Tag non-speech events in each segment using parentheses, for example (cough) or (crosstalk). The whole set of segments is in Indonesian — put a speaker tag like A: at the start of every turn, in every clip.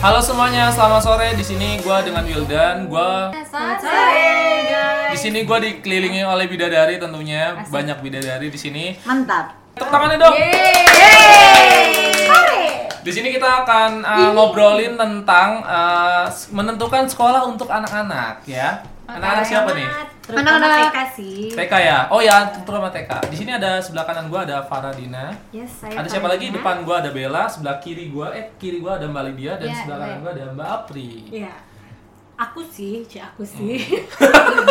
A: Halo semuanya, selamat sore. Di sini gua dengan Wildan. Gua di sini gua dikelilingi oleh bidadari tentunya. Banyak bidadari di sini.
B: Mantap.
A: Tepuk tangannya dong.
B: Sore.
A: Di sini kita akan uh, ngobrolin tentang uh, s- menentukan sekolah untuk anak-anak ya. Anak-anak siapa nih?
B: Anak-anak.
C: TK sih.
A: TK ya. Oh ya, terutama TK. Di sini ada sebelah kanan gua ada Faradina.
C: Yes, saya
A: Ada siapa lagi?
C: Farina.
A: Depan gua ada Bella, sebelah kiri gua eh kiri gua ada Mbak Lydia dan
C: Iya,
A: sebelah kanan
C: iya.
A: gua ada Mbak Apri.
C: Iya. Aku sih, Ci, aku sih.
A: Hmm.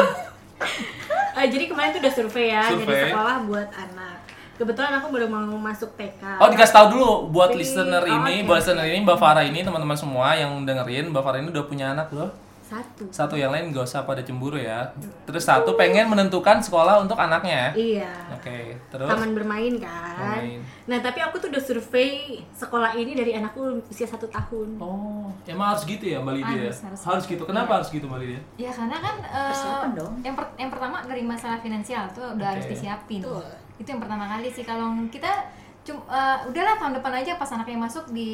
C: (laughs) Eh, jadi kemarin tuh udah survei ya,
A: Survei.
C: jadi sekolah buat anak. Kebetulan aku baru mau masuk TK.
A: Oh dikasih tahu dulu buat
C: Tapi-
A: listener
C: oh,
A: ini,
C: oke,
A: buat listener ini Mbak Farah ini teman-teman semua yang dengerin Mbak Farah ini udah punya anak loh.
C: Satu.
A: Satu yang lain gak usah pada cemburu ya. Terus satu pengen menentukan sekolah untuk anaknya.
C: Iya.
A: Oke, terus
C: Taman bermain kan.
A: Bermain.
C: Nah, tapi aku tuh udah survei sekolah ini dari anakku usia satu tahun.
A: Oh, emang harus gitu ya Mbak Lydia?
D: Harus, harus.
A: gitu.
C: Iya.
A: Kenapa harus gitu Mbak Lydia?
D: Ya karena kan eh,
B: Persiapan dong.
D: yang per- yang pertama dari masalah finansial tuh udah harus
A: Oke.
D: disiapin.
C: Betul.
D: Itu yang pertama kali sih kalau kita cum- eh, udahlah tahun depan aja pas anaknya masuk di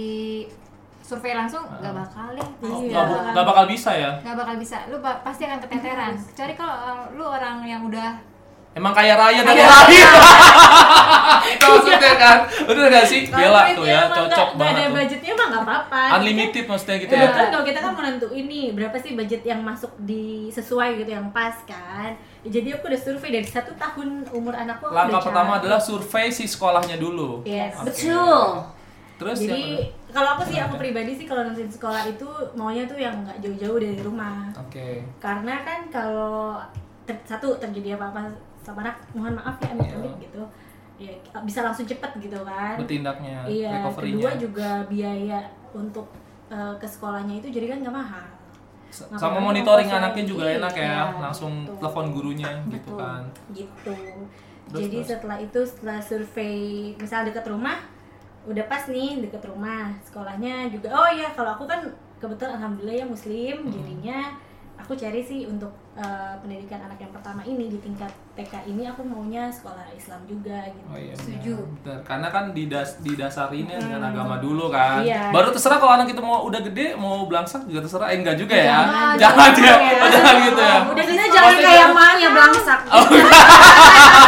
D: survei langsung nggak bakal deh.
A: Oh,
D: Pasti
A: nggak
C: Iya.
D: nggak
A: bu-
D: bakal-
A: nggak bakal bisa ya?
D: nggak bakal bisa. Lu ba- pasti akan keteteran. Kecuali kalau eh, lu orang yang udah
A: Emang kaya raya dari lahir. (laughs) Itu maksudnya kan. Bener gak sih? Bella tuh ya, cocok
C: Gak ada
A: banget tuh.
C: budgetnya mah nggak apa-apa.
A: Unlimited maksudnya gitu
C: Iya,
A: ya.
C: kan kalau kita kan menentu ini berapa sih budget yang masuk di sesuai gitu yang pas kan. Jadi aku udah survei dari satu tahun umur anakku. aku
A: Langkah
C: udah
A: pertama
C: cari.
A: adalah survei si sekolahnya dulu.
C: Yes.
A: Oke.
B: Betul.
A: Terus
C: Jadi
A: yang kedua?
C: kalau aku sih aku pribadi sih kalau nentuin sekolah itu maunya tuh yang nggak jauh-jauh dari rumah.
A: Oke.
C: Karena kan kalau ter- satu terjadi apa-apa sama anak mohon maaf ya amit amit
A: Iya.
C: gitu. Ya bisa langsung cepet gitu kan.
A: Bertindaknya,
C: Iya, kedua
A: recovery-nya.
C: juga biaya untuk eh, ke sekolahnya itu jadi kan nggak mahal.
A: S-
C: ngapain
A: Sama
C: kamu
A: monitoring
C: fokus
A: anaknya
C: lagi?
A: juga enak
C: Iya,
A: ya, langsung
C: betul.
A: telepon gurunya gitu
C: Betul.
A: kan.
C: Gitu.
A: Terus,
C: jadi
A: terus.
C: setelah itu setelah survei misal deket rumah, udah pas nih deket rumah, sekolahnya juga. Oh iya, kalau aku kan kebetulan alhamdulillah ya muslim,
A: Hmm.
C: jadinya aku cari sih untuk eh, pendidikan anak yang pertama ini di tingkat TK ini aku maunya sekolah Islam juga gitu.
A: Oh iya.
D: Setuju.
A: Benar. Karena kan didas didasarinnya dengan agama dulu kan.
C: Iya.
A: Baru terserah kalau anak itu mau udah gede mau belangsak juga terserah. Eh enggak juga ya. (laughs)
C: Jangan,
A: Jangan,
C: jangan
A: ya.
C: ya.
A: Oh, jangan gitu ya. Oh,
C: Udah gitu
B: Jangan
C: jangan
B: kayak
C: kayak
B: emaknya belangsak.
C: (laughs)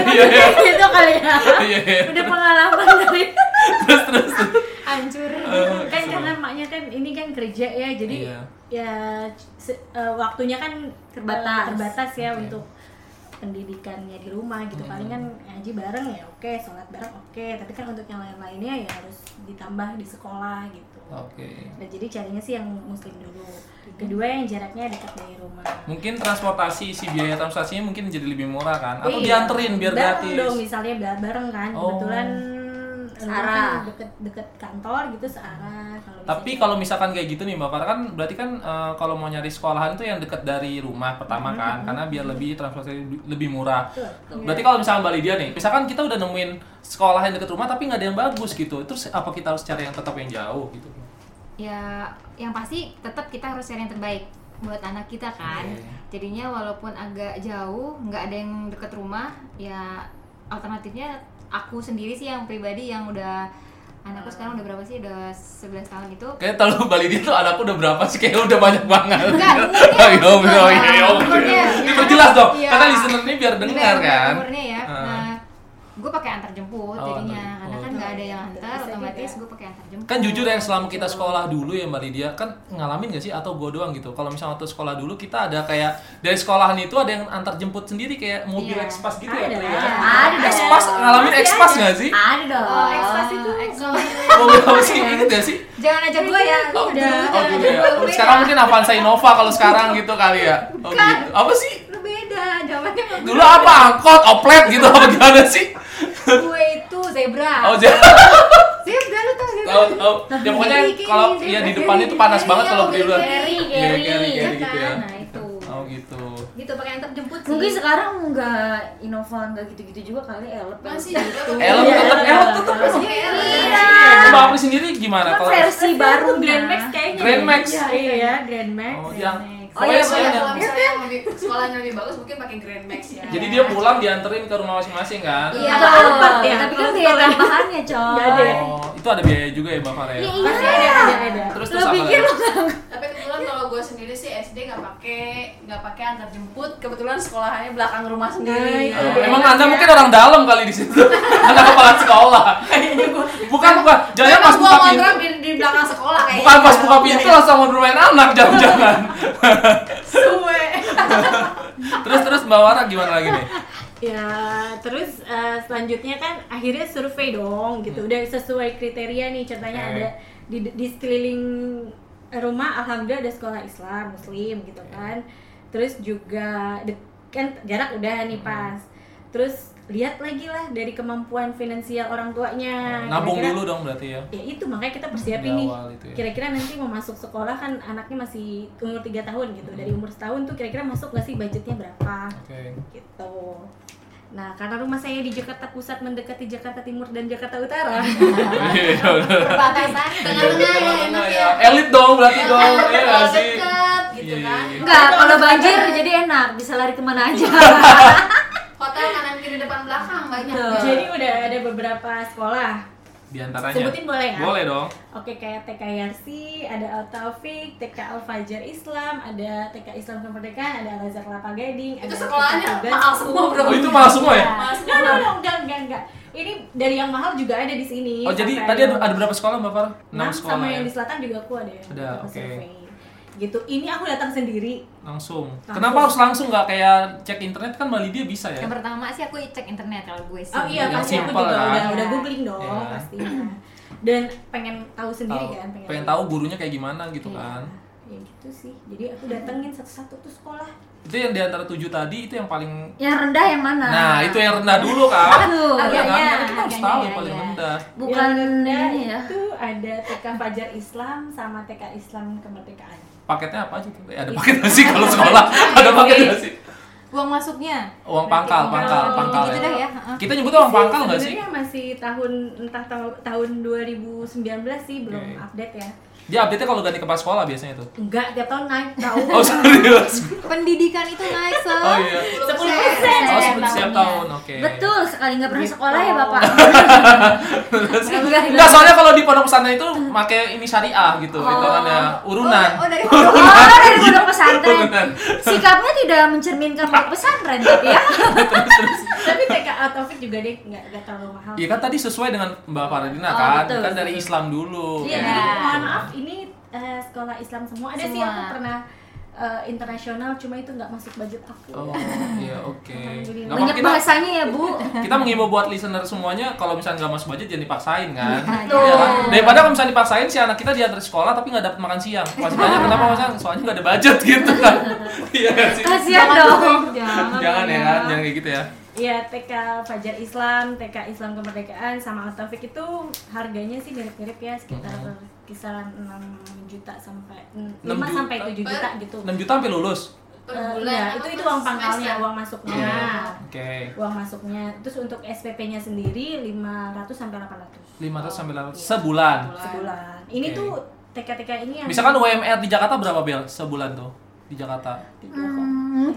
A: Iya, iya.
C: itu kali ya.
A: Iya, iya.
C: Udah
A: (laughs)
C: pengalaman dari
A: Terus terus.
D: hancur.
C: kan karena emaknya kan ini kan kerja ya jadi
A: Eh, Iya.
C: ya se- eh, waktunya kan
B: Terbatas.
C: eh, terbatas ya
A: Oke. Iya.
C: untuk pendidikannya di rumah gitu paling kan ngaji bareng ya oke sholat bareng oke tapi kan untuk yang lain-lainnya ya harus ditambah di sekolah gitu
A: Oke.
C: nah jadi carinya sih yang muslim dulu kedua yang jaraknya dekat dari rumah
A: Mungkin transportasi si biaya transportasinya mungkin jadi lebih murah kan atau
C: Iya.
A: dianterin biar
C: bareng
A: gratis.
C: dong misalnya ba- bareng kan
A: Oh.
C: kebetulan rumah
B: Searah.
C: kan deket-deket kantor gitu searah kalau
A: Tapi
C: misalnya-
A: kalau misalkan kayak gitu nih Mbak Farah kan berarti kan eh, kalau mau nyari sekolahan tuh yang dekat dari rumah pertama
D: Hmm.
A: kan karena biar lebih transportasi lebih murah.
C: Betul.
A: Berarti kalau misalkan Mbak Lydia nih, misalkan kita udah nemuin sekolah yang dekat rumah tapi nggak ada yang bagus gitu. Terus apa kita harus cari yang tetap yang jauh gitu?
D: ya yang pasti tetap kita harus cari yang terbaik buat anak kita kan
A: Iya, iya.
D: jadinya walaupun agak jauh nggak ada yang deket rumah ya alternatifnya aku sendiri sih yang pribadi yang udah anakku sekarang udah berapa sih udah 11 tahun itu
A: Kayaknya terlalu Mbak Lydia tuh anakku udah berapa sih? Kayaknya udah banyak banget. (laughs)
D: Enggak,
A: Ayo, ayo, ayo.
D: umurnya.
A: Diperjelas dong,
D: Iya.
A: karena listener ini biar dengar
D: Ini
A: kan.
D: umurnya ya
A: Ah.
D: nah gue pakai antar jemput
A: Oh, antar
D: jadinya karena
A: jemput.
D: kan nggak ada yang antar
C: Bisa juga.
D: otomatis gue pakai antar jemput
A: Kan jujur yang selama kita sekolah dulu ya Mbak Lydia kan ngalamin gak sih atau gue doang gitu. Kalau misalnya waktu sekolah dulu kita ada kayak dari sekolahan itu ada yang antar jemput sendiri kayak mobil
D: Iya.
A: ekspas gitu
C: Ada.
A: ya. Pri, ya?
B: Ada.
A: Ekspas ngalamin
C: Masih
A: ekspas
C: ada.
A: gak sih?
B: Ada dong.
D: Oh,
C: ekspas itu
D: ekspas.
A: Mobil apa sih? Ingat gak sih?
D: Jangan ajak gue ya.
C: Oh, dulu,
D: udah.
A: Oh
D: Jangan
A: dulu
D: ajak
A: ya.
D: gue.
A: Oh,
D: Beda.
A: sekarang mungkin Avanza Innova kalau sekarang gitu kali ya. Oh
D: Bukan.
A: gitu. Apa sih?
D: Lu beda. Jawabannya sama
A: Dulu apa? Angkot, oplet gitu apa gimana sih?
D: gue. Gue itu zebra.
A: Oh jangan
D: Zebra lu tau zebra.
A: tahu tahu. Ya pokoknya
D: Kiri, kiri,
A: kalau
D: kiri,
A: ya di
D: kiri,
A: depannya itu
D: kiri,
A: panas
D: kiri,
A: banget
D: kiri,
A: kalau di luar.
D: kiri,
A: Iya,
B: kiri,
A: kiri,
D: Iya
A: kiri gitu ya.
D: kan? Nah, itu.
A: Oh gitu.
D: Gitu pakai antar jemput sih.
B: Mungkin sekarang nggak Innova nggak gitu-gitu juga kali elep.
D: masih
B: elep.
D: gitu.
A: Elok tetap
C: Iya, iya,
A: elok
C: iya,
A: tetap
C: iya.
A: elok.
D: Iya.
A: Iya. Mbak Apri sendiri gimana
B: Cuma
A: kalau
B: Kan
A: Oh,
B: versi baru
C: Grand Max kayaknya. ya.
A: Grand Max.
C: Iya, iya, Grand Max.
A: Oh, yang
D: Max.
C: Max.
A: Oh, iya,
B: kalau
A: iya,
B: kalau
A: iya.
B: misalnya yang lebih sekolahnya lebih bagus mungkin pakai Grand Max ya.
A: Jadi dia pulang dianterin ke rumah masing-masing kan?
E: Iya.
C: Atau angkot ya?
E: Tapi kan biaya
C: tambahannya coy. Gak ada.
A: Oh, itu ada biaya juga ya Mbak Farah ya?
C: Pasti ada, ada, ada.
A: Terus terus apa lagi?
B: Tapi kebetulan kalau gue sendiri sih SD nggak pakai nggak pakai antar jemput. Kebetulan sekolahannya belakang rumah
C: Nah, iya.
B: sendiri.
A: Oh, emang anda mungkin orang dalam kali di (laughs) situ, anda kepala sekolah. Iya, bukan bukan, jangan
B: Jangan
A: pas buka pintu,
B: ngontrak di, di belakang sekolah kayaknya.
A: bukan pas buka pintu langsung mau bermain anak, jangan-jangan.
B: Suwe.
A: terus terus Mbak Wara gimana lagi nih?
C: Ya, terus eh, selanjutnya kan akhirnya survei dong
A: Hmm.
C: gitu. Udah sesuai kriteria nih ceritanya
A: Oke.
C: ada di di sekeliling rumah alhamdulillah ada sekolah Islam, muslim gitu
A: Eh.
C: kan. Terus juga de- kan jarak udah
A: Hmm.
C: nih pas. Terus lihat lagi lah dari kemampuan finansial orang tuanya.
A: Eh, Nabung
C: Kira-kira-
A: dulu dong berarti ya.
C: ya itu makanya kita persiapin
A: Di
C: nih
A: awal itu ya.
C: kira-kira nanti mau masuk sekolah kan anaknya masih umur 3 tahun gitu dari
A: Hmm.
C: umur setahun tuh kira-kira masuk nggak sih budgetnya berapa
A: Oke. (laughs)
C: gitu nah karena rumah saya di Jakarta Pusat mendekati Jakarta Timur dan Jakarta
B: (laughs)
C: Utara
B: Gitu.
A: Iya, (laughs)
E: perbatasan
B: Tengah-tengah ya enak ya.
A: Elit dong iya, Eh, berarti dong, ya nggak
B: Kalau
A: sih?
B: deket gitu
A: Iya,
B: kan.
A: iya, iya.
E: Enggak, kalau banjir jadi enak, bisa lari kemana aja
B: Hotel kanan kiri depan belakang banyak.
C: jadi udah ada beberapa sekolah
A: Di antaranya.
C: sebutin boleh nggak?
A: Boleh dong.
C: Oke kayak TK Yarsi, ada Al Taufik, TK Al Fajar Islam, ada TK Islam Kemerdekaan, ada Al Azhar Kelapa Gading,
B: Itu
C: ada
B: sekolahnya
C: TK Tugas.
B: mahal semua bro.
A: Oh, itu mahal semua ya?
C: Enggak,
B: Mahal semua.
C: enggak, enggak, enggak, enggak, enggak. Ini dari yang mahal juga ada di sini.
A: Oh jadi
C: Iya, Sampai
A: tadi ada, ada berapa sekolah Mbak Farah?
C: enam
A: Enam sekolah
C: sama
A: ya?
C: yang di selatan juga aku ada. yang
A: Ada,
C: aku
A: oke.
C: survei. Gitu. Ini aku datang sendiri.
A: Langsung.
C: Langsung.
A: Kenapa harus langsung nggak kayak cek internet kan Mbak Lydia bisa ya?
E: Yang pertama sih aku cek internet kalau gue sih
C: Oh
A: Yang
C: iya, pasti aku
A: simple
C: juga
A: kan?
C: udah udah googling dong
A: Iya.
C: pasti. Dan pengen tahu sendiri
A: Tahu-
C: kan, pengen,
A: pengen tahu gurunya kayak gimana gitu kan?
C: Ya gitu sih. Jadi aku datengin satu-satu tuh sekolah.
A: Itu yang di antara tujuh tadi itu yang paling
E: Yang rendah yang mana?
A: Nah, itu yang rendah dulu kan.
E: Aduh,
A: Iya kan?
E: agaknya,
A: Karena kita harus
E: agaknya,
A: tahu yang
E: iya,
A: paling
E: iya.
A: rendah.
E: Bukan
C: Yang ada
E: ini ya
C: Itu ada TK Fajar Islam sama TK Islam Kemerdekaan.
A: Paketnya apa aja tuh? Eh, ada paket nasi kalau sekolah. ada paket nasi.
E: Uang masuknya
A: Uang pangkal,
D: Iya,
A: pangkal,
C: Kalau-
A: pangkal.
E: Gitu
A: ya.
E: dah ya heeh. Iya,
A: Kita nyebutnya uang pangkal nggak sih?
C: Sebenarnya masih tahun entah tahun tahun 2019 sih belum
A: Oke.
C: update ya.
A: Dia update-nya kalau ganti kepala sekolah biasanya tuh.
C: Enggak, tiap tahun
A: (laughs)
C: naik tahu.
A: Oh, serius.
E: Pendidikan itu naik, so
A: Oh iya.
E: 10%.
A: Oh, sebut siap
E: Tahunnya.
A: tahun. Oke.
E: Betul sekali, nggak pernah
C: Gitu.
E: sekolah ya Bapak
A: Enggak, soalnya kalau di pondok pesantren itu pakai ini syariah gitu. Itu
E: Oh.
A: ada urunan.
E: Oh, oh,
C: Iya,
E: dari pondok, oh, dari pondok pesantren. Sikapnya tidak mencerminkan pondok pesantren tapi ya.
C: Tapi TK Taufik juga deh enggak enggak terlalu mahal.
A: Iya kan tadi sesuai dengan Mbak Faradina
E: Oh,
A: kan,
E: betul,
A: kan dari
E: betul.
A: Islam dulu.
C: Iya,
A: kayak
C: jadi
A: gitu.
C: mohon maaf ini eh, sekolah Islam semua. Ada sih
E: Semua.
C: aku pernah eh, internasional cuma itu nggak masuk budget aku.
A: Oh, iya oke.
C: Alhamdulillah.
A: Nggak apa-apa,
E: Banyak bahasanya ya,
A: (laughs)
E: Bu.
A: kita menghimbau buat listener semuanya kalau misalnya nggak masuk budget jangan dipaksain kan
E: Betul.
A: Iya kan? daripada kalau misalnya dipaksain si anak kita diantar sekolah tapi nggak dapat makan siang pas banyak kenapa masa soalnya nggak ada budget gitu
E: (laughs)
A: kan iya nggak sih
E: Kasihan dong.
A: jangan ya kan jangan kayak gitu ya
C: Iya, TK Fajar Islam, TK Islam Kemerdekaan sama Al Taufik itu harganya sih mirip-mirip ya sekitar kisaran 6 juta sampai
A: 6
C: 5
A: juta.
C: sampai 7 juta gitu.
A: 6 juta sampai lulus
B: Per
C: Eh,
B: bulan
C: iya,
B: apa
C: itu itu
B: per
C: uang pangkalnya,
B: semester?
C: uang masuknya.
A: oke
C: Uang masuknya. Terus untuk SPP-nya sendiri 500 sampai
A: 500
C: 800
A: sampai 800 sebulan
C: sebulan. Ini
A: Oke.
C: tuh TK-TK ini yang
A: misalkan UMR di Jakarta berapa bel sebulan tuh di Jakarta
C: tiga kok.
E: Hmm,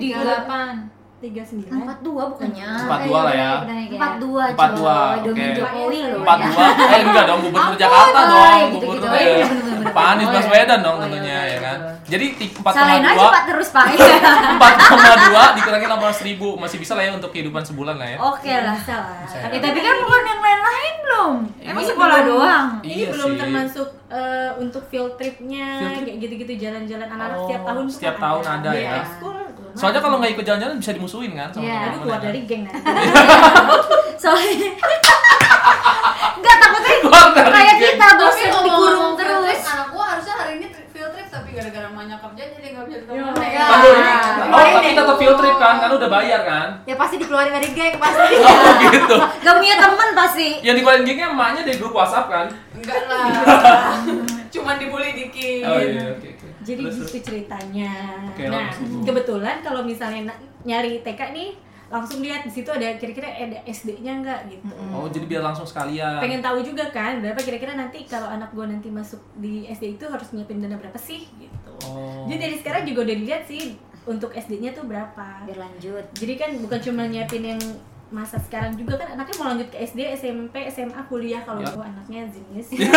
E: 38.
C: 39.
E: 42 bukannya.
A: 42 lah ya.
E: 42, coy.
A: 42, oke.
E: Demi Jokowi loh. ya.
A: empat dua eh enggak dong gubernur Jakarta dong
E: gitu-gitu.
A: gubernur
E: Oh, iya,
A: ya.
E: bener-bener.
A: Pak Anies
E: Oh, iya.
A: Baswedan dong
E: Oh, iya,
A: tentunya
E: bener,
A: ya kan
E: betul.
A: jadi ti- 4,2
E: Salahin aja Pak terus
A: (laughs)
E: Pak.
A: 4,2 dikurangi 800 ribu masih bisa lah ya untuk kehidupan sebulan lah ya
E: Oke lah.
C: Bisa lah.
A: Bisa ya.
E: Ya, tapi kan bukan yang lain-lain belum. Emang sekolah
C: belum-
E: doang.
C: Ini
A: Iya
C: belum
A: sih.
C: termasuk eh, untuk field tripnya
A: Field trip?
C: kayak gitu-gitu jalan-jalan anak-anak
A: Oh,
C: setiap tahun. tuh
A: setiap
C: kan
A: tahun ada
C: Di
A: ya.
C: ekskul, lumayan.
A: soalnya kalau nggak ikut jalan-jalan bisa dimusuhin kan sama
E: Iya.
A: teman-teman
C: Aduh keluar
A: ya.
C: dari geng nanti.
A: (laughs)
E: Soalnya Enggak takutnya
A: Keluar dari
E: kayak
A: geng.
E: kita bosan
B: ngomong-ngomong kan
E: dikurung
B: field trip,
E: terus.
B: anak gua harusnya hari ini tri- field trip tapi gara-gara banyak kerja jadi nggak bisa ketemu
C: Iya.
B: mereka.
E: Nah,
A: Aduh, oh
E: kemarin
A: tapi
E: deh.
A: tetap field trip kan karena udah bayar kan
E: Ya pasti dikeluarin dari geng pasti.
A: (laughs) oh gitu
E: Gak punya temen pasti.
A: yang dikeluarin gengnya emaknya dari grup WhatsApp kan
B: enggak lah (laughs) cuman dibully dikit
A: oh iya oke oke
C: Jadi
A: Terus,
C: gitu ceritanya.
A: Oke,
C: nah,
A: langsung.
C: kebetulan kalau misalnya na- nyari TK nih langsung lihat di situ ada kira-kira ada SD-nya nggak gitu.
A: terus. oh jadi biar langsung sekalian (laughs)
C: Pengen tahu juga kan berapa kira-kira nanti kalau anak gue nanti masuk di SD itu harus nyiapin dana berapa sih gitu.
A: Oh.
C: Jadi dari sekarang juga udah dilihat sih untuk SD-nya tuh berapa.
A: Ya.
D: biar lanjut
C: Jadi kan bukan cuma nyiapin yang masa sekarang juga kan anaknya mau lanjut ke SD, SMP, SMA, kuliah kalau
A: Ya.
C: gua anaknya jenis
A: Iya.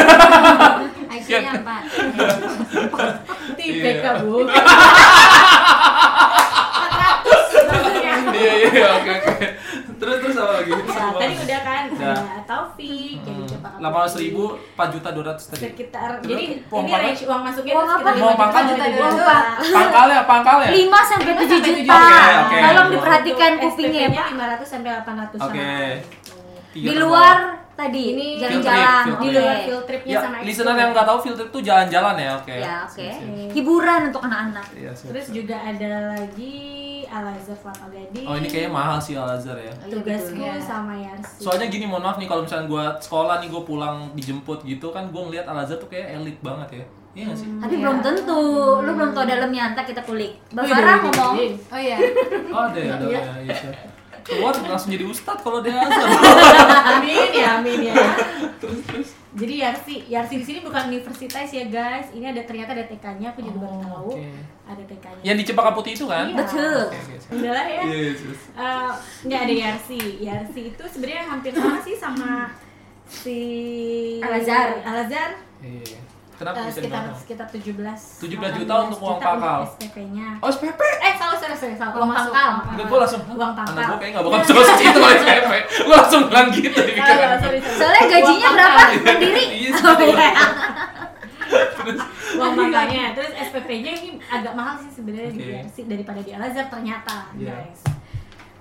E: IQ-nya
A: (laughs)
E: empat.
C: itu
A: Iya.
C: IPK bu. Maksudnya.
A: Iya iya iya, oke oke. Terus terus apa lagi?
C: Ya, tadi udah kan
A: Ya.
C: ada Taufik, jadi coba
A: Delapan ratus ribu, empat juta dua ratus tadi.
C: gitu. sekitar
A: Terus
C: jadi
A: uang
C: ini
A: makan?
C: range uang masuknya
D: Uang apa?
C: sekitar
A: Uang makan?
C: juta gitu.
B: Uang
C: dua
B: apa?
A: Pangkalnya pangkalnya.
D: 5 sampai 7
C: sampai Iya.
A: juta.
D: juta.
A: Oke, Iya, oke.
D: Tolong
A: Untuk
D: diperhatikan
A: ya.
D: kupingnya. ya,
C: SPP-nya 500 sampai 800
A: Oke. Tiga
D: Di
A: terbawah.
D: luar tadi
C: Ini
A: field
D: jalan-jalan.
A: trip,
C: di
A: field
D: Oke.
C: luar field tripnya
A: Ya,
C: sama
A: listener
C: ekskul.
A: yang nggak tahu filter tuh jalan-jalan ya, oke.
D: Ya, oke.
A: Sip, sip.
D: Hiburan untuk anak-anak.
A: Iya, sip,
C: Terus
A: sip.
C: juga ada lagi Al Azhar Kelapa Gading.
A: Oh ini kayaknya mahal sih Al Azhar ya.
C: tugasku
E: Iya.
C: sama Yarsi.
A: Soalnya gini mohon maaf nih kalau misalnya gue sekolah nih gue pulang dijemput gitu kan gue ngeliat Al Azhar tuh kayak elit banget ya. Iya nggak sih?
D: Tapi
E: Iya.
D: belum tentu. Lu belum tahu dalamnya antar kita kulik. Mbak
C: Wih, wih,
D: Farah
C: wih,
D: ngomong.
C: wih.
E: Oh iya.
A: Oh ada ya, ada
C: Iya.
A: ya. Iya, sip. Keluar langsung jadi ustad kalau dia Azhar.
C: (laughs) amin ya, amin ya. Jadi Yarsi, Yarsi di sini bukan universitas ya guys. Ini ada ternyata ada TK-nya, aku juga baru
A: Oh,
C: tahu.
A: oke.
C: Ada TK-nya.
A: Yang di Cempaka Putih itu kan?
C: Iya.
D: Betul.
A: Oke, oke, sip.
C: Udah lah ya.
A: Iya, iya, sip.
C: Eh, nggak ada Yarsi. Yarsi itu sebenarnya hampir sama sih sama si
D: Al Azhar.
C: Al Azhar.
A: Iya, iya.
C: Eh,
A: Kenapa bisa
C: sekitar
A: dibilang?
C: sekitar 17
A: 17 juta
C: 18
A: untuk uang
C: juta
A: pakal.
C: SPP-nya.
A: Oh SPP.
C: Eh, salah, salah, salah, salah.
E: Uang
C: Uang
E: masuk,
C: pangkal.
E: uang pangkal.
A: Udah gue langsung
C: Uang
A: "Hah, Anak
C: pangkal.
A: gue kayak gak bakal sekolah itu kalau SPP Gue langsung bilang gitu di
C: Salah, salah,
A: pikiran
C: sorry, sorry.
D: Soalnya gajinya
C: Uang
D: berapa
C: pangkal.
D: sendiri?
A: Iya,
D: Oh,
A: sendiri.
D: iya.
C: Uang pangkalnya. Terus SPP-nya ini agak mahal sih sebenarnya di
A: Oke.
C: Yarsi daripada di Al-Azhar ternyata,
A: Iya.
C: guys.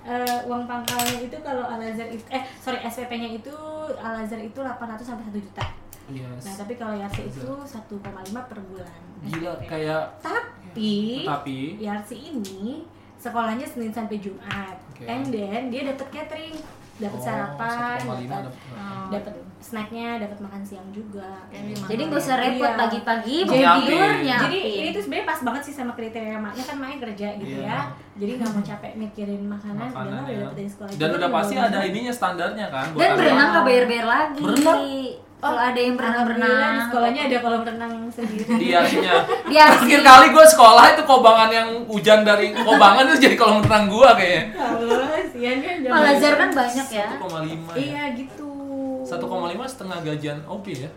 C: Eh, uang pangkalnya itu kalau Al-Azhar itu eh sorry SPP-nya itu Al-Azhar itu 800 sampai 1 juta.
A: Yes.
C: Nah, tapi kalau Yarsi itu 1,5 per bulan.
A: Gila
C: SPP.
A: kayak
C: Tapi
A: Tapi
C: Yarsi ini sekolahnya Senin sampai Jumat.
A: Oke.
C: And then dia dapat catering, dapat
A: Oh,
C: sarapan,
A: 1,5
C: dapat oh,
A: dapet.
C: dapat snacknya, dapat makan siang juga.
E: Kayak
D: Jadi nggak usah repot
C: Iya.
D: pagi-pagi
A: Jadi-
D: bangun tidur
A: Jadi
D: nyapi.
C: Jadi ini tuh sebenarnya pas banget sih sama kriteria maknya kan maknya kerja gitu
A: Iya.
C: ya. Jadi nggak mau capek mikirin makanan,
A: Makanan
C: dan udah
A: ya.
C: dapet dari sekolah.
A: Dan
C: juga,
A: udah
C: udah
A: pasti
C: bawa
A: ada
C: makan.
A: ininya standarnya kan buat
D: Dan
A: anak.
D: berenang nggak bayar bayar lagi.
A: Berenang?
D: Kalau ada
C: Oh,
D: yang
C: Alhamdulillah,
D: berenang-berenang.
C: di sekolahnya ada kolam renang sendiri.
A: Di
C: (laughs)
A: Yarsinya
D: Di Yarsi.
A: Terakhir kali gue sekolah itu kobangan yang hujan dari kobangan itu jadi kolam renang gue kayaknya
C: Ya Allah, sian kan zaman-
D: Kalau Lazar kan banyak ya.
A: 1,5 ya
C: Iya gitu.
A: 1,5 setengah gajian OP ya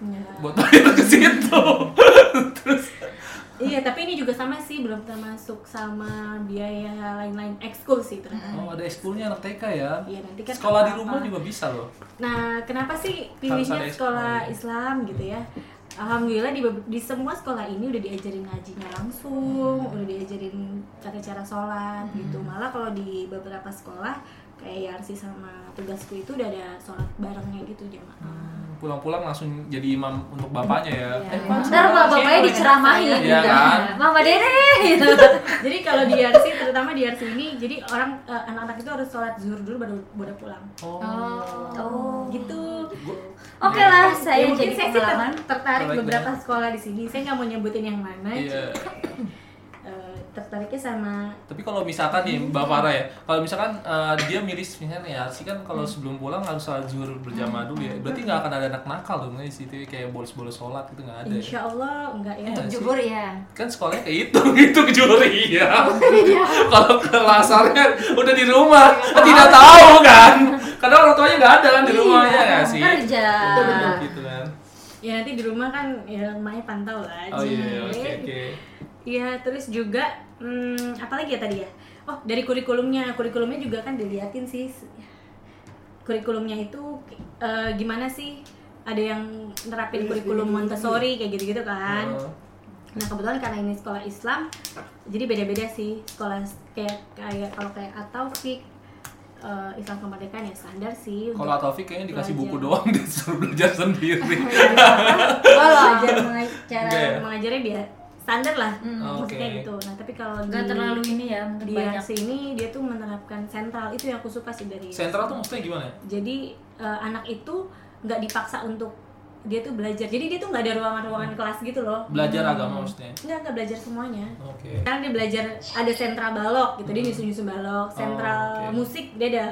C: Iya.
A: buat bayar ke situ
C: Iya, tapi ini juga sama sih, belum termasuk sama biaya lain-lain ekskul sih ternyata.
A: Oh ada ekskulnya anak TK ya
C: Iya, nanti kan
A: Sekolah di
C: apa-apa.
A: rumah juga bisa loh
C: Nah, kenapa
A: Harus
C: sih
A: ada
C: pilihnya
A: ekskul.
C: sekolah Islam gitu ya? Alhamdulillah di, be- di semua sekolah ini udah diajarin ngajinya langsung,
A: Hmm.
C: udah diajarin cara cara sholat gitu. Malah kalau di beberapa sekolah kayak Yarsi sama tugasku itu udah ada sholat barengnya gitu
A: Hmm.
C: jamaah.
A: Pulang-pulang langsung jadi imam untuk bapaknya ya
C: Iya.
A: Eh, Pak,
D: Ntar mah bapaknya
C: Iya.
D: diceramahin
A: Iya
D: gitu.
A: kan?
D: Mama Dede
C: (laughs)
D: gitu.
C: jadi kalau di Yarsi, terutama di Yarsi ini, jadi orang eh, anak-anak itu harus sholat zuhur dulu baru boleh pulang.
A: Oh.
D: Oh.
C: Gitu.
D: Oke lah,
C: saya
D: Ya, saya
C: mungkin
D: jadi
C: saya sih
D: pengalaman.
C: ter- tertarik
A: Tertarik
C: beberapa
A: banget.
C: sekolah di sini saya nggak mau nyebutin yang mana
A: Iya.
C: Eh, tertariknya sama
A: Tapi kalau misalkan nih Mbak
C: Hmm.
A: Farah ya, kalau misalkan eh, dia milih misalnya nih Arsi kan kalau
C: Hmm.
A: sebelum pulang harus sholat zuhur berjamaah dulu ya. Berarti nggak akan ada anak nakal dong ya di situ kayak bolos-bolos sholat gitu nggak ada. Ya?
C: Insya Allah enggak ya
A: Iya.
E: Jujur ya.
A: Kan sekolahnya kayak itu (laughs) gitu ke juri ya.
C: Iya.
A: kalau ke lasarnya udah di rumah tidak tahu kan. Karena orang tuanya nggak ada kan di
C: Iya,
A: rumahnya nggak sih.
D: Kerja.
A: Betul, Gitu kan.
C: ya nanti di rumah kan ya emaknya pantau lah
A: Oh iya,
C: Cie.
A: oke oke.
C: Iya, terus juga hmm, apa lagi ya tadi ya oh dari kurikulumnya kurikulumnya juga kan diliatin sih kurikulumnya itu eh, gimana sih ada yang nerapin kurikulum Montessori kayak gitu-gitu kan
A: Iya, Oh.
C: Nah kebetulan karena ini sekolah Islam, jadi beda-beda sih sekolah kayak kayak kalau kayak Ataufik eh, Islam kemerdekaan ya standar sih.
A: Kalau Taufik kayaknya dikasih buku
C: Belajar.
A: doang dia (laughs) suruh belajar sendiri.
C: belajar menga- (laughs) cara
A: Enggak ya?
C: mengajarnya biar standar lah, maksudnya
A: Oke.
C: gitu. Nah tapi kalau
D: Enggak Hmm. terlalu ini ya, mungkin
C: di
D: banyak.
C: sini dia tuh menerapkan sentral itu yang aku suka sih dari.
A: Sentral tuh maksudnya gimana? ya?
C: Jadi eh, anak itu nggak dipaksa untuk dia tuh belajar. Jadi dia tuh nggak ada ruangan-ruangan kelas gitu loh.
A: Belajar agama maksudnya.
C: Nggak nggak belajar semuanya.
A: Oke.
C: sekarang dia belajar ada sentral balok gitu dia nyusun nyusun balok sentral
A: Oh, Hmm. oke.
D: Hmm.
C: musik dia ada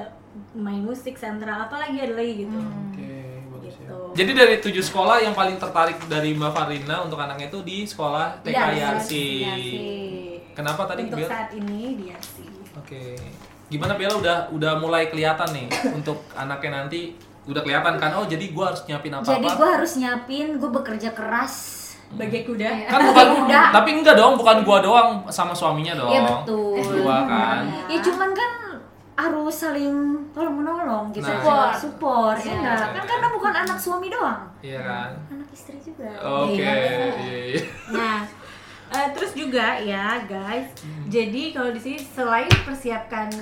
C: main musik sentral apalagi ada lagi gitu
A: Oke, bagus ya.
C: gitu
A: Jadi dari tujuh sekolah yang paling tertarik dari Mbak Farina untuk anaknya itu di sekolah TK
C: Dari
A: Yarsi.
C: Yarsi.
A: Kenapa tadi Hmm.
C: Untuk
A: Bel?
C: saat ini di Yarsi.
A: Oke. Gimana Bella udah udah mulai kelihatan nih untuk anaknya nanti udah kelihatan kan oh jadi gua harus nyiapin apa-apa.
D: Jadi gue harus nyiapin, gue bekerja keras.
C: Bagai kuda.
D: Iya.
A: kan bukan
D: Udah.
A: tapi enggak dong bukan gua doang sama suaminya dong.
D: Iya betul.
A: Oh, (laughs) Dua kan.
D: Ya cuman kan harus saling tolong menolong gitu
A: Nah.
D: support support
E: Iya.
D: ya enggak kan karena bukan anak suami doang
A: Iya kan.
D: anak istri juga
A: Oke.
C: Iya.
A: Iya, iya.
C: Nah, eh, terus juga ya guys.
A: Hmm.
C: Jadi kalau di sini selain persiapkan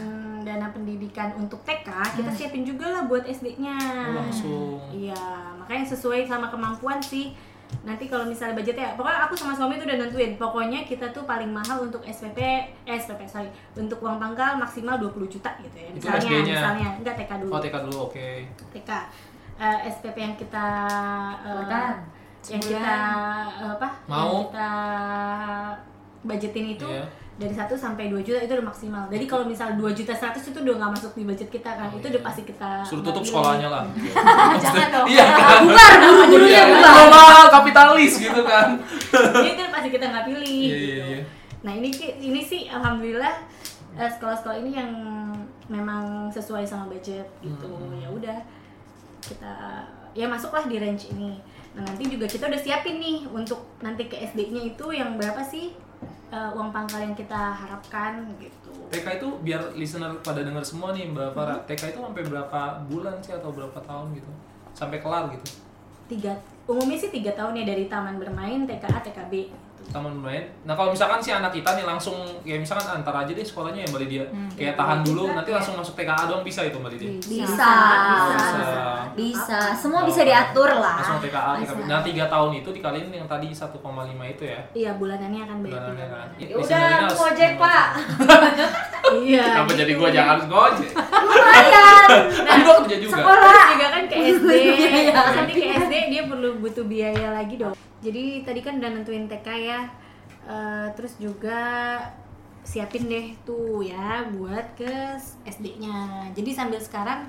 C: dana pendidikan untuk TK, kita
A: Hmm.
C: siapin juga lah buat SD-nya.
A: Oh, langsung.
C: Iya, makanya sesuai sama kemampuan sih. Nanti kalau misalnya budgetnya, pokoknya aku sama suami tuh udah nentuin. Pokoknya kita tuh paling mahal untuk SPP, eh, SPP sorry, untuk uang pangkal maksimal 20 juta gitu ya.
A: Itu
C: Misalnya,
A: SD-nya.
C: misalnya enggak TK dulu.
A: Oh, TK dulu oke.
C: TK Eh, SPP yang kita eh,
D: Sebulan.
C: yang kita eh, apa yang
A: Mau.
C: kita budgetin itu
A: Iya.
C: dari 1 sampai 2 juta itu udah maksimal. Jadi kalau misal 2 juta 100 itu udah nggak masuk di budget kita kan.
A: Oh,
C: itu
A: iya.
C: udah pasti kita
A: Suruh tutup
C: ambil.
A: sekolahnya lah.
C: Jangan dong.
A: Iya kan.
D: bubar guru-gurunya
A: Iya,
D: bubar
A: Global kapitalis gitu kan.
C: Jadi itu Iya, pasti kita nggak pilih.
A: Iya,
C: gitu.
A: iya, iya.
C: Nah, ini ki- ini sih alhamdulillah eh, sekolah-sekolah ini yang memang sesuai sama budget gitu.
A: Hmm.
C: Ya udah kita ya masuklah di range ini. Nah, nanti juga kita udah siapin nih untuk nanti ke SD-nya itu yang berapa sih eh, uang pangkal yang kita harapkan gitu.
A: TK itu biar listener pada dengar semua nih Mbak Farah.
C: Hmm.
A: TK itu sampai berapa bulan sih atau berapa tahun gitu? Sampai kelar gitu.
C: Tiga umumnya sih tiga tahun ya dari taman bermain TKA TKB gitu.
A: Taman bermain. Nah, kalau misalkan si anak kita nih langsung ya misalkan antar aja deh sekolahnya ya Mbak Lydia.
E: Hmm.
A: Kayak tahan dulu nanti langsung masuk TKA doang bisa itu Mbak
C: Iya,
A: Lydia.
D: bisa
A: Bisa.
D: bisa semua bisa diatur
A: Langsung
D: lah
A: TKA, TKB. Nah, 3 tahun itu dikaliin yang tadi 1,5 itu ya.
C: Iya bulanannya akan bayar tiga
A: Benar kan.
C: bulan.
A: Ya,
D: ya
A: listenernya
D: udah
A: harus-
D: ngojek pak
C: Iya.
A: Kenapa jadi gua jangan harus ngojek?
D: (laughs) lumayan
A: Kan gua kerja juga.
C: Terus
D: sekolah
C: juga kan ke SD
D: Biaya.
C: nanti ke SD dia perlu butuh biaya lagi dong jadi tadi kan udah nentuin TK ya Eh, terus juga siapin deh tuh ya buat ke SD-nya jadi sambil sekarang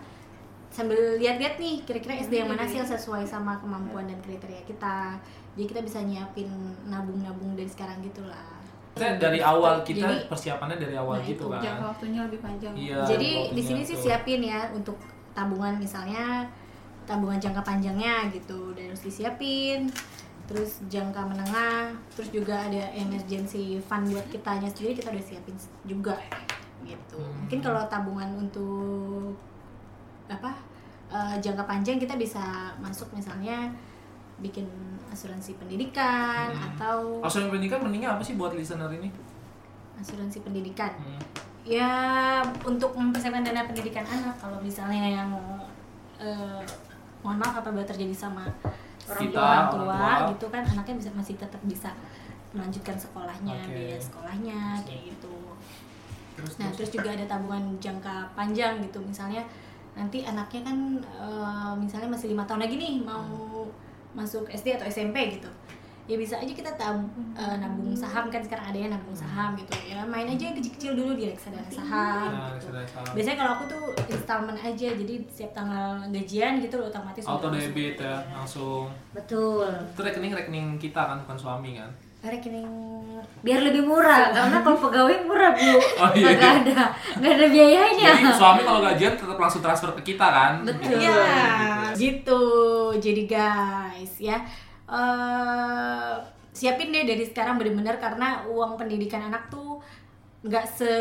C: sambil lihat-lihat nih kira-kira SD yang mana sih yang sesuai sama kemampuan dan kriteria kita jadi kita bisa nyiapin nabung-nabung dari sekarang gitu gitulah
A: Maksudnya dari awal kita
C: Jadi-
A: persiapannya dari awal
C: Nah,
A: gitu
C: itu
A: kan.
C: jangka
E: waktunya lebih panjang
A: Iya.
C: Jadi di
A: waktunya
C: sini sih
A: tuh.
C: siapin ya untuk tabungan misalnya tabungan jangka panjangnya gitu dan harus disiapin. Terus jangka menengah, terus juga ada emergency fund buat kitanya sendiri kita udah siapin juga gitu.
A: Hmm.
C: Mungkin kalau tabungan untuk apa eh, jangka panjang kita bisa masuk misalnya bikin asuransi pendidikan
A: Hmm.
C: atau
A: Asuransi pendidikan mendingnya apa sih buat listener ini?
C: asuransi pendidikan.
A: Hmm.
C: ya untuk mempersiapkan dana pendidikan anak kalau misalnya yang eh, mohon maaf apa terjadi sama
A: Orang
C: tua,
A: tua,
C: orang
A: orang
C: tua,
A: tua.
C: gitu kan anaknya bisa masih tetap bisa melanjutkan sekolahnya
A: Oke.
C: biaya sekolahnya kayak gitu
A: Terus,
C: nah terus juga ada tabungan jangka panjang gitu misalnya nanti anaknya kan eh, misalnya masih lima tahun lagi nih mau masuk SD atau SMP gitu ya bisa aja kita tab, eh, nabung saham kan sekarang ada yang nabung saham gitu ya main aja yang kecil-kecil dulu di reksadana saham
A: Nah,
C: gitu.
A: sudah salah.
C: biasanya kalau aku tuh installment aja jadi setiap tanggal gajian gitu loh otomatis
A: Auto
C: udah masuk.
A: debit ya, langsung.
D: betul
A: Itu rekening rekening kita kan bukan suami kan?
C: rekening
D: biar lebih murah karena kalau pegawai murah bu
A: (laughs) Oh, iya.
D: nggak ada nggak ada biayanya
A: Jadi suami kalau gajian tetap langsung transfer ke kita kan?
D: Iya. Betul.
A: Gitu.
C: Iya, gitu. Jadi guys ya eh, siapin deh dari sekarang bener-bener karena uang pendidikan anak tuh nggak se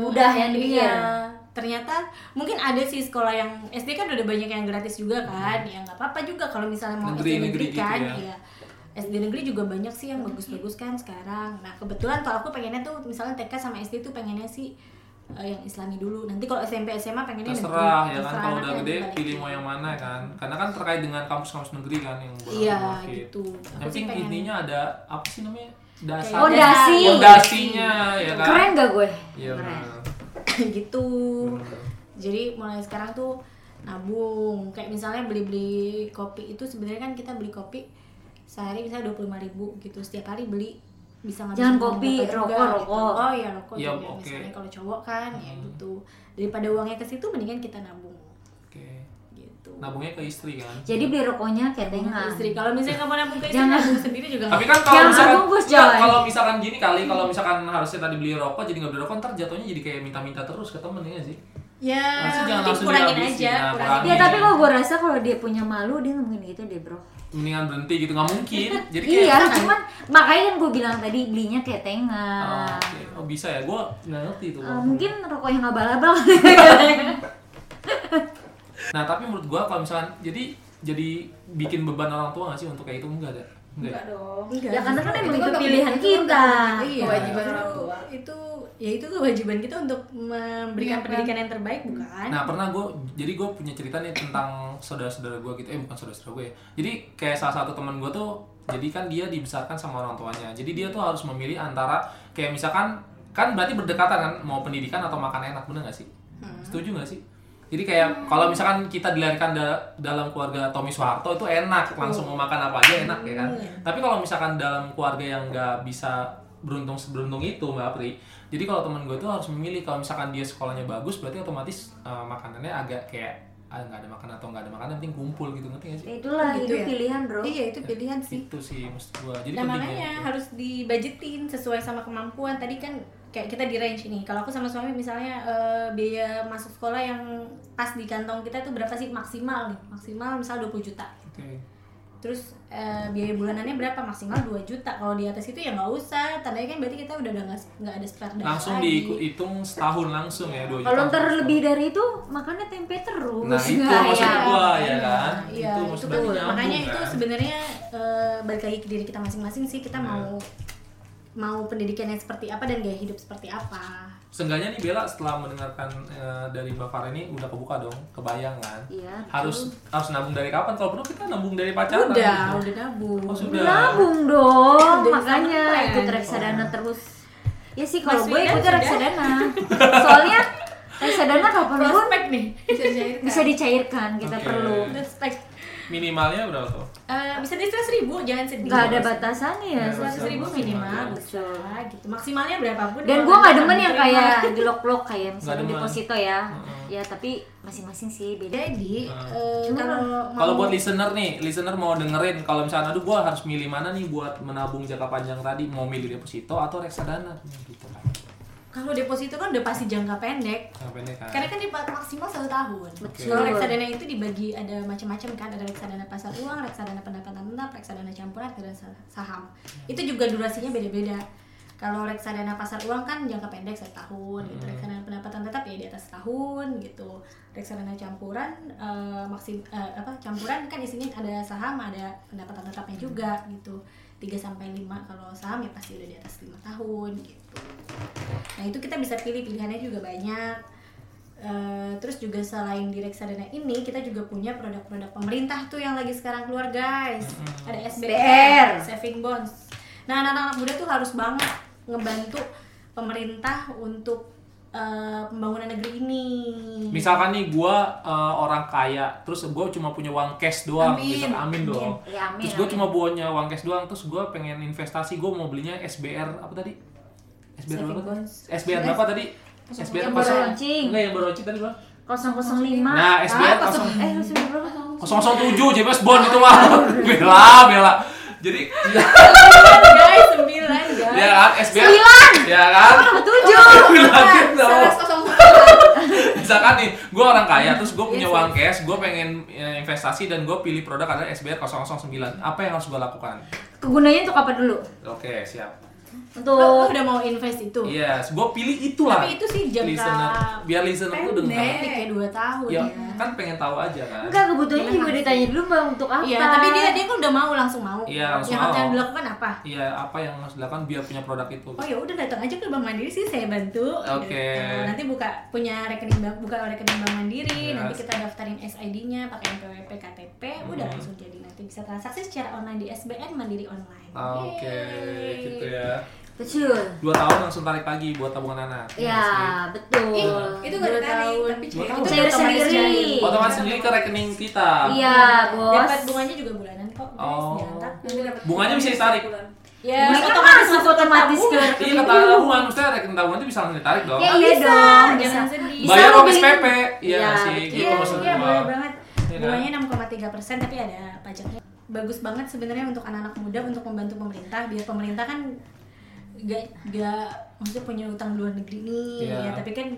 D: Mudah yang
C: Iya.
D: dipikir.
C: Ternyata mungkin ada sih sekolah yang SD kan udah banyak yang gratis juga kan, ya nggak apa-apa juga kalau misalnya mau
A: Negeri-
C: SD
A: negeri gitu
C: kan,
A: ya.
C: iya. SD negeri juga banyak sih yang bagus-bagus kan sekarang. Nah kebetulan kalau aku pengennya tuh misalnya TK sama SD tuh pengennya sih eh, yang Islami dulu. Nanti kalau SMP SMA pengen
A: Terserah ya kan kalau udah
C: anaknya
A: gede
C: dibalikin.
A: pilih mau yang mana kan? Karena kan terkait dengan kampus-kampus negeri kan yang bolak-balik.
C: iya gitu
A: Yang
C: Aku sih
A: penting
C: pengen-
A: intinya ada apa sih namanya? Dasar.
D: Fondasi.
A: Fondasinya ya kan?
D: keren gak gue
A: Iya.
D: keren
A: benar.
C: (laughs) gitu
A: Benar.
C: jadi mulai sekarang tuh nabung kayak misalnya beli beli kopi itu sebenarnya kan kita beli kopi sehari misalnya dua ribu gitu setiap hari beli bisa ngabisin
D: Jangan
C: uang
D: kopi,
C: berapa juga,
D: rokok,
C: gitu.
D: rokok.
C: oh iya rokok
A: Iya,
C: juga
A: oke.
C: misalnya kalau cowok kan ya
A: Hmm.
C: gitu daripada uangnya ke situ mendingan kita nabung
A: Oke.
C: gitu
D: gitu
A: nabungnya ke istri kan
D: jadi beli rokoknya ketengan
C: istri kalau misalnya kamu nabung ke istri
D: Jangan.
C: nabung sendiri juga
A: tapi kan kalau
D: Yang
A: misalkan
D: nabung, Gus,
A: Nggak,
D: Joy.
A: kalau misalkan gini kali kalau misalkan harusnya tadi beli rokok jadi nggak beli rokok ntar jatuhnya jadi kayak minta-minta terus ke temen ya nggak sih
C: ya
A: Langsung jangan
C: mungkin
A: langsung
C: kurangin
A: dihabisin.
C: aja
A: Nah,
C: kurangin.
D: ya tapi kalau gue rasa kalau dia punya malu dia ngomongin gitu deh bro
A: mendingan berhenti gitu nggak
D: (laughs)
A: mungkin jadi kayak
D: iya cuman makanya kan gue bilang tadi belinya ketengan
A: Oh, oke. oh bisa ya gue nggak ngerti itu
D: Eh, mungkin rokoknya nggak abal-abal
A: nah tapi menurut gue kalau misalkan jadi jadi bikin beban orang tua nggak sih untuk kayak itu enggak ada enggak ya?
B: Enggak dong.
C: Enggak.
D: ya karena kan
B: Itu
D: emang
B: kan
D: itu
B: nggak-
D: pilihan
B: itu kan
D: kita
C: Iya,
B: Kewajiban
C: itu-
B: orang tua.
C: itu ya itu kewajiban kita untuk memberikan
B: Iya,
C: pendidikan yang terbaik bukan
A: Nah pernah gue, jadi gue punya cerita nih tentang saudara-saudara gue gitu, eh bukan saudara-saudara gue ya. Jadi kayak salah satu teman gue tuh, jadi kan dia dibesarkan sama orang tuanya. Jadi dia tuh harus memilih antara kayak misalkan, kan berarti berdekatan kan, mau pendidikan atau makan enak bener gak sih? Setuju gak sih? Jadi kayak kalau misalkan kita dilahirkan da- dalam keluarga Tommy Soeharto itu enak, langsung mau makan apa aja enak ya kan.
C: Iya.
A: Tapi kalau misalkan dalam keluarga yang nggak bisa beruntung seberuntung itu Mbak Pri. Jadi kalau teman gue tuh harus memilih kalau misalkan dia sekolahnya bagus berarti otomatis eh, makanannya agak kayak ah, nggak ada makan atau nggak ada makan yang penting kumpul gitu ngerti nggak sih?
D: Ya, (laughs) itulah
C: Gitu
D: itu
C: ya.
D: pilihan bro
C: iya itu pilihan sih
A: Itu sih maksud gue. Jadi
C: nah
A: pentingnya.
C: makanya
A: itu.
C: harus dibajetin sesuai sama kemampuan tadi kan kayak kita di range ini kalau aku sama suami misalnya eh, biaya masuk sekolah yang pas di kantong kita itu berapa sih maksimal nih maksimal misal 20 juta
A: Oke.
C: terus eh, biaya bulanannya berapa maksimal 2 juta kalau di atas itu ya nggak usah tandanya kan berarti kita udah nggak nggak ada spare dana
A: Langsung
C: lagi.
A: dihitung setahun langsung ya dua juta.
D: kalau ntar lebih dari itu makannya tempe terus
A: Nah itu
D: Nah,
A: maksud
D: ya.
A: gue ya kan.
C: Iya,
A: itu
C: itu
A: maksud
C: betul.
A: berarti nyambung,
C: Makanya itu
A: kan?
C: sebenarnya eh, balik lagi ke diri kita masing-masing sih kita
A: Benar.
C: mau mau pendidikan yang seperti apa dan gaya hidup seperti apa.
A: Seenggaknya nih Bella setelah mendengarkan eh, dari Mbak Farah ini udah kebuka dong, kebayang kan?
D: Iya,
A: Harus harus nabung dari kapan? Kalau perlu kita nabung dari pacaran. gitu.
C: Udah, udah nabung.
A: Oh, sudah.
D: nabung dong
C: Udah
D: makanya
C: disampai.
D: ikut reksadana terus ya sih kalau
C: Mas
D: gue
C: Wildan
D: ikut
C: sudah.
D: reksadana soalnya reksadana kapan pun
C: Prospek Iya, nih.
B: Bisa kan? dicairkan.
D: bisa dicairkan kita
A: Oke.
D: perlu
C: Prospek.
A: Minimalnya berapa tuh?
C: Eh, bisa di 100 ribu, jangan sedih.
D: nggak ada batasannya
A: Nggak
D: ya
A: ada
C: Seratus ribu
A: Maksimal,
C: minimal
A: ya.
C: bisa gitu. Maksimalnya berapapun. ya,
D: dan gue
C: kalau
D: nggak
C: ada
D: demen
C: yang
D: yang
C: diterima.
D: kayak jelok-jelok kayak misalnya
A: demen.
D: deposito ya
A: Heeh.
D: ya tapi masing-masing sih beda
C: jadi
A: Nah.
C: eh,
D: Cuma
C: kalau mau-
A: Kalau buat listener nih, listener mau dengerin kalau misalnya aduh gua harus milih mana nih buat menabung jangka panjang tadi, mau milih deposito atau reksadana gitu kan.
C: kalau deposito kan udah pasti jangka pendek.
A: Nah, pendek kan.
C: Karena kan di maksimal satu tahun.
D: Betul.
C: Kalau reksadana itu dibagi ada macam-macam kan, ada reksadana pasar uang, reksadana pendapatan tetap, reksadana campuran, reksadana saham.
A: Hmm.
C: Itu juga durasinya beda-beda. Kalau reksadana pasar uang kan jangka pendek satu tahun, gitu.
A: Hmm.
C: reksadana pendapatan tetap ya di atas tahun gitu. Reksadana campuran eh, maksim eh, apa campuran kan isinya ada saham, ada pendapatan tetapnya juga gitu. 3 sampai 5 kalau saham ya pasti udah di atas 5 tahun gitu. Nah itu kita bisa pilih pilihannya juga banyak. Eh, terus juga selain di reksadana ini kita juga punya produk-produk pemerintah tuh yang lagi sekarang keluar guys.
A: Mm-hmm.
C: Ada SBR,
D: SBR.
C: saving bonds. Nah anak-anak muda tuh harus banget ngebantu pemerintah untuk eh, pembangunan negeri ini.
A: Misalkan nih gua eh, orang kaya, terus gua cuma punya uang cash doang
B: Amin.
A: gitu. Amin dong.
D: ya amin
A: Terus gue
D: amin.
A: cuma punya uang cash doang, terus gue pengen investasi, gue mau belinya SBR apa tadi? SBR
C: Saving
A: berapa? tadi?
C: bonds.
A: SBR berapa tadi? SBR
D: yang
A: apa?
D: baru launching.
A: Enggak yang baru launching tadi berapa?
D: 005
A: Nah, SBR
D: Ah,
A: 0
D: eh 007 berapa?
A: 007 James Bond itu
D: (laughs)
A: mah. Bela, bela. Jadi (laughs)
C: guys, 9 guys.
A: ya kan SBR.
D: Sembilan!
A: Ya kan?
D: tujuh
C: Nah,
A: Bilangin dong.
B: 101.
A: misalkan nih gue orang kaya
D: Hmm.
A: terus gue punya
D: Iya
C: Yes,
A: uang cash gue pengen eh, investasi dan gue pilih produk adalah SBR 009 apa yang harus gue lakukan
D: kegunaannya untuk apa dulu
A: oke siap
D: untuk
C: Lo, lo udah mau invest itu.
A: yes gue pilih itulah
C: Tapi itu sih jangka
A: listener biar listener tuh dengar
C: Pendek ya 2 tahun
A: ya
C: ya.
A: kan pengen tahu aja kan
D: enggak kebutuhannya
C: Jangan
D: juga ditanya dulu mbak untuk apa
C: Iya, tapi dia dia kan udah mau langsung mau.
A: Iya, langsung
C: yang harus
A: mau.
C: yang dilakukan apa?
A: Iya, apa yang harus dilakukan biar punya produk itu?
D: iya.
C: Oh ya udah datang aja ke Bank Mandiri sih saya bantu.
A: Oke.
C: Gitu. Nanti buka punya rekening bank buka rekening Bank Mandiri,
A: Yes.
C: nanti kita daftarin SID-nya pakai NPWP KTP, udah
A: Hmm.
C: langsung jadi nanti bisa transaksi secara online di SBN Mandiri online.
A: Ah, Oke,
C: Yeay.
A: gitu ya.
D: kecil
A: Dua tahun langsung tarik lagi buat tabungan anak. Iya
D: ya betul
B: Ih, itu gak
C: Dua
B: ditarik,
C: tahun.
B: tapi
A: Dua
B: cair.
A: tahun.
B: Itu
D: Cair
B: otomatis
D: sendiri.
B: cair.
A: Potongan sendiri ke rekening kita.
D: iya bos
C: Dapat bunganya juga bulanan kok. guys,
A: Oh.
C: Jangan takut.
B: Nanti dapat
A: Bunganya
D: iya.
A: bisa ditarik.
B: bulan.
C: Ya,
D: Bunganya kan masuk otomatis ke-
A: Iya, kata tabungan, maksudnya rekening tabungan itu bisa langsung ditarik dong.
D: ya
C: Oh,
D: iya
C: bisa,
D: dong
C: jangan
D: bisa.
C: sedih.
D: Bisa
A: Bayar
D: lo
A: ongkos
D: beliin-
A: PP. Iya
D: Iya,
A: sih,
D: betul.
A: gitu
C: Iya,
A: maksudnya.
C: iya boleh banget.
A: Iya kan?
C: Bunganya 6,3 persen tapi ada pajaknya. Bagus banget sebenarnya untuk anak-anak muda untuk membantu pemerintah biar pemerintah kan gak, gak maksudnya punya utang luar negeri nih
A: Iya.
C: ya tapi kan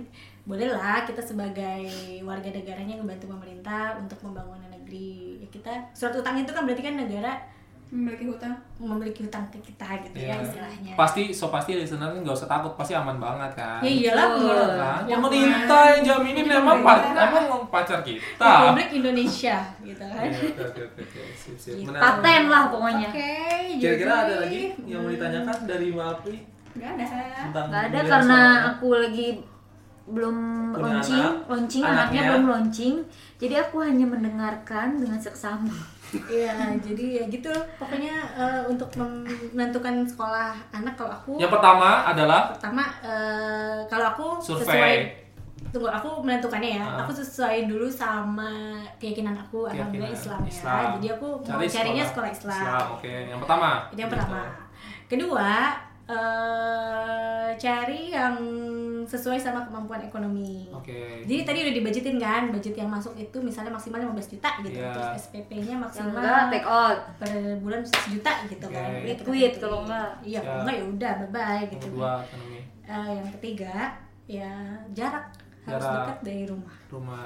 C: bolehlah kita sebagai warga negaranya ngebantu pemerintah untuk pembangunan negeri ya kita surat utang itu kan berarti kan negara
B: memiliki hutang
C: memiliki hutang ke kita gitu
A: Iya.
C: ya istilahnya
A: Pasti so pasti listener nggak usah takut, pasti aman banget kan.
C: ya iyalah menurut
A: Kan?
C: yang
A: Yang minta yang jaminin emang par- emang mau pacar kita.
C: Republik Indonesia gitu Iya, kan
A: Iya, oke, oke, oke, oke. Sip, sip.
C: Gitu.
A: Menarik.
D: Paten lah pokoknya.
C: oke
A: Kira-kira
C: jadi-
A: ada lagi yang mau ditanyakan dari Mbak Apri
B: nggak ada
A: tentang
D: Gak ada
A: pemilihan
D: karena
A: suaranya?
D: aku lagi belum
A: Punya
D: launching,
A: anak,
D: launching
A: anaknya.
D: anaknya. belum launching. Jadi aku hanya mendengarkan dengan seksama.
C: Iya, jadi ya gitu. Pokoknya eh, untuk mem- menentukan sekolah anak kalau aku
A: Yang pertama adalah
C: pertama eh, kalau aku sesuai
A: survei.
C: tunggu aku menentukannya ya.
A: Ah.
C: Aku sesuai dulu sama keyakinan aku agama
A: keyakinan
C: Islam, ya. Jadi aku mau carinya sekolah Islam.
A: oke. Yang pertama.
C: Itu yang
A: Gitu.
C: pertama. Kedua, eh, cari yang sesuai sama kemampuan ekonomi.
A: Oke.
C: Jadi tadi udah dibajetin kan, budget yang masuk itu misalnya maksimal 15 juta gitu.
A: Iya.
C: Terus SPP-nya
D: Yang
C: maksimal
D: enggak take out.
C: per bulan sejuta gitu kan
A: Oke.
C: Gitu.
D: Liquid kalau enggak.
C: iya kalau
A: Ya.
C: enggak ya udah bye bye
A: Yang
C: gitu
A: kedua
C: kan
A: ekonomi
C: Eh, yang ketiga ya jarak harus
A: Jarak.
C: dekat dari rumah
A: rumah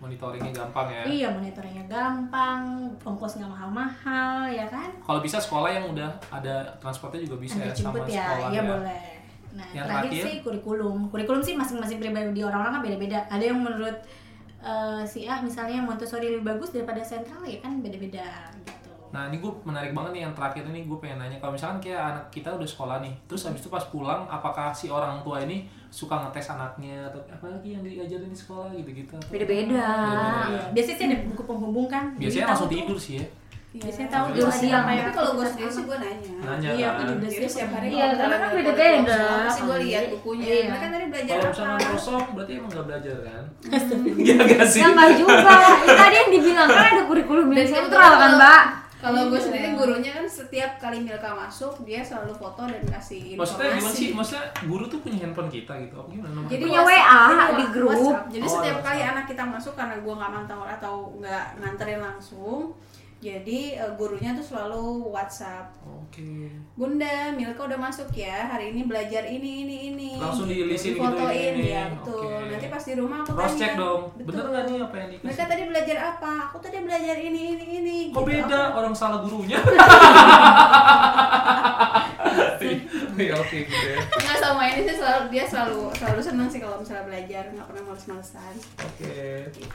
A: monitoringnya gampang ya.
C: iya monitoringnya gampang ongkos nggak mahal mahal ya kan
A: Kalau bisa sekolah yang udah ada transportnya juga bisa
C: antar
A: ya, sama
C: jemput ya
A: sekolah
C: iya boleh nah
A: Yang
C: terakhir
A: terakhir?
C: sih kurikulum kurikulum sih masing-masing pribadi orang-orang kan beda-beda ada yang menurut eh, si A misalnya Montessori lebih bagus daripada sentral ya kan beda-beda gitu
A: Nah ini gue menarik banget nih yang terakhir ini gue pengen nanya kalau misalkan kayak anak kita udah sekolah nih, terus habis itu pas pulang apakah si orang tua ini suka ngetes anaknya atau apa lagi yang diajarin di sekolah gitu-gitu? atau-
D: Beda-beda.
A: Beda-beda.
C: Nah, biasanya sih ada buku penghubung kan
A: Iya. Biasanya
C: Jadi
A: langsung
C: tahu tuh-
A: tidur sih ya.
C: biasanya tahu
A: Tidur
C: tuh ada
D: siang.
C: apa yang
B: Iya. tapi kalau gue
C: aktivitas
B: sendiri sih
C: anak.
B: gue nanya
A: Nanya
C: Iya, aku
A: kan.
C: juga
B: jadi
C: sih
B: setiap hari
D: Iya, karena
B: kalau
D: kan
B: misalnya
D: beda-beda.
B: kalau misalnya apa sih gue lihat bukunya
D: Iya.
B: mereka tadi belajar
A: Kalau
B: apa
A: misalkan kosong berarti emang gak belajar kan?
C: Hmm.
A: (laughs) Iya gak sih?
D: Ya enggak juga. Itu tadi yang dibilang kan ada kurikulum yang
B: Dan
D: sentral kan,
B: kebetulan
D: Mbak? Gitu.
B: kalau gue sendiri gurunya kan setiap kali Milka masuk dia selalu foto dan kasih informasi
A: Maksudnya gimana sih? Maksudnya guru tuh punya handphone kita gitu? Apa gimana? nomor
B: jadi
D: Punya
B: WhatsApp,
D: WA
B: punya
D: di grup.
B: WhatsApp. Jadi
A: Oh,
B: setiap
A: WhatsApp.
B: kali anak kita masuk karena gua nggak mantau atau nggak nganterin langsung, jadi eh, gurunya tuh selalu WhatsApp.
A: Oke.
B: Bunda, Milka udah masuk ya. Hari ini belajar ini ini ini.
A: Langsung diilisin gitu,
B: Difotoin,
A: ini, ini.
B: ya, betul.
A: Oke.
B: Nanti pas di rumah aku
A: Cross
B: tanya.
A: check dong. Bener
B: Betul.
A: gak nih apa yang dikasih?
B: Mereka tadi belajar apa? Aku tadi belajar ini ini ini.
A: Kok
B: Gitu.
A: beda orang salah
B: (laughs)
A: gurunya? Iya oke gitu ya.
B: Nggak sama ini sih selalu dia selalu selalu senang sih kalau misalnya belajar nggak pernah males-malesan.
A: Oke.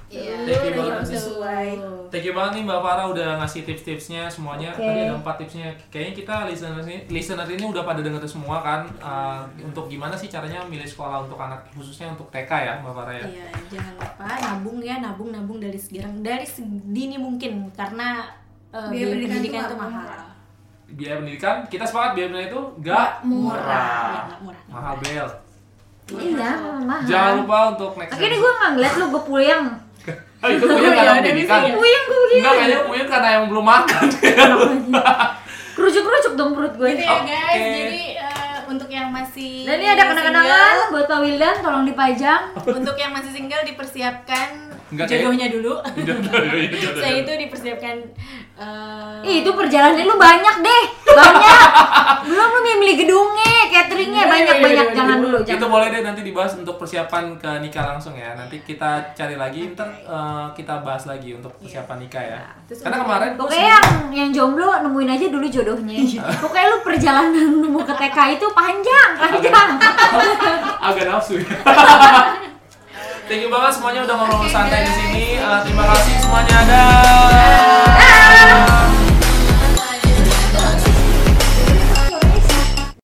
B: Iya.
A: Thank you
B: Udah
A: banget.
B: sesuai.
A: Thank you banget nih Mbak Farah udah ngasih tips-tipsnya semuanya.
D: Oke.
A: Tadi ada empat tipsnya. Kayaknya kita listener ini, listener ini udah pada denger semua kan eh, untuk gimana sih caranya milih sekolah untuk anak khususnya untuk TK ya Mbak Farah ya.
C: Iya, jangan lupa nabung ya, nabung nabung dari sekarang dari sedini mungkin karena eh, biaya
B: Biaya pendidikan
C: pendidikan
B: tuh
C: itu
B: nggak
C: mahal.
B: murah.
A: Biaya pendidikan kita sepakat biaya pendidikan itu gak
B: murah.
C: Iya, nggak murah.
A: mahal bel.
D: Iya, mahal.
A: Jangan lupa untuk next.
D: Akhirnya gue nggak ngeliat lu gue puyeng
A: Oh, itu punya
C: Iya,
A: karena
C: ada
A: pendidikan.
C: di sini.
D: Puyeng gue begini
A: kan? Enggak kayaknya mungkin karena yang belum makan.
D: Kerucuk-kerucuk dong perut gue
C: Gitu ya
A: Oke.
C: guys, jadi eh, untuk yang masih
D: Dan ini ada kenang-kenangan buat Pak Wildan tolong dipajang
C: single, Untuk yang masih single dipersiapkan
A: Nggak, kayak-
C: jodohnya dulu Saya
A: Jodoh-jodoh.
C: itu dipersiapkan eh,
D: Ih, itu perjalanan lu banyak deh Banyak Belum lu milih gedungnya,
A: Iya, (laughs)
D: cateringnya banyak-banyak Jangan dulu,
A: Itu
D: jangan
A: boleh deh nanti dibahas untuk persiapan ke nikah langsung ya. Nanti kita cari lagi, ntar eh, kita bahas lagi untuk persiapan nikah ya.
C: Terus
A: Karena
C: untuk-
A: kemarin gua
D: Pokoknya Eh, yang, yang jomblo nemuin aja dulu jodohnya Pokoknya lu perjalanan (laughs) nemu ke TK itu panjang, panjang
A: agak nafsu ya. Thank you banget semuanya udah ngobrol
B: Oke,
A: santai di
B: guys.
A: sini. Eh, terima kasih semuanya. Dah.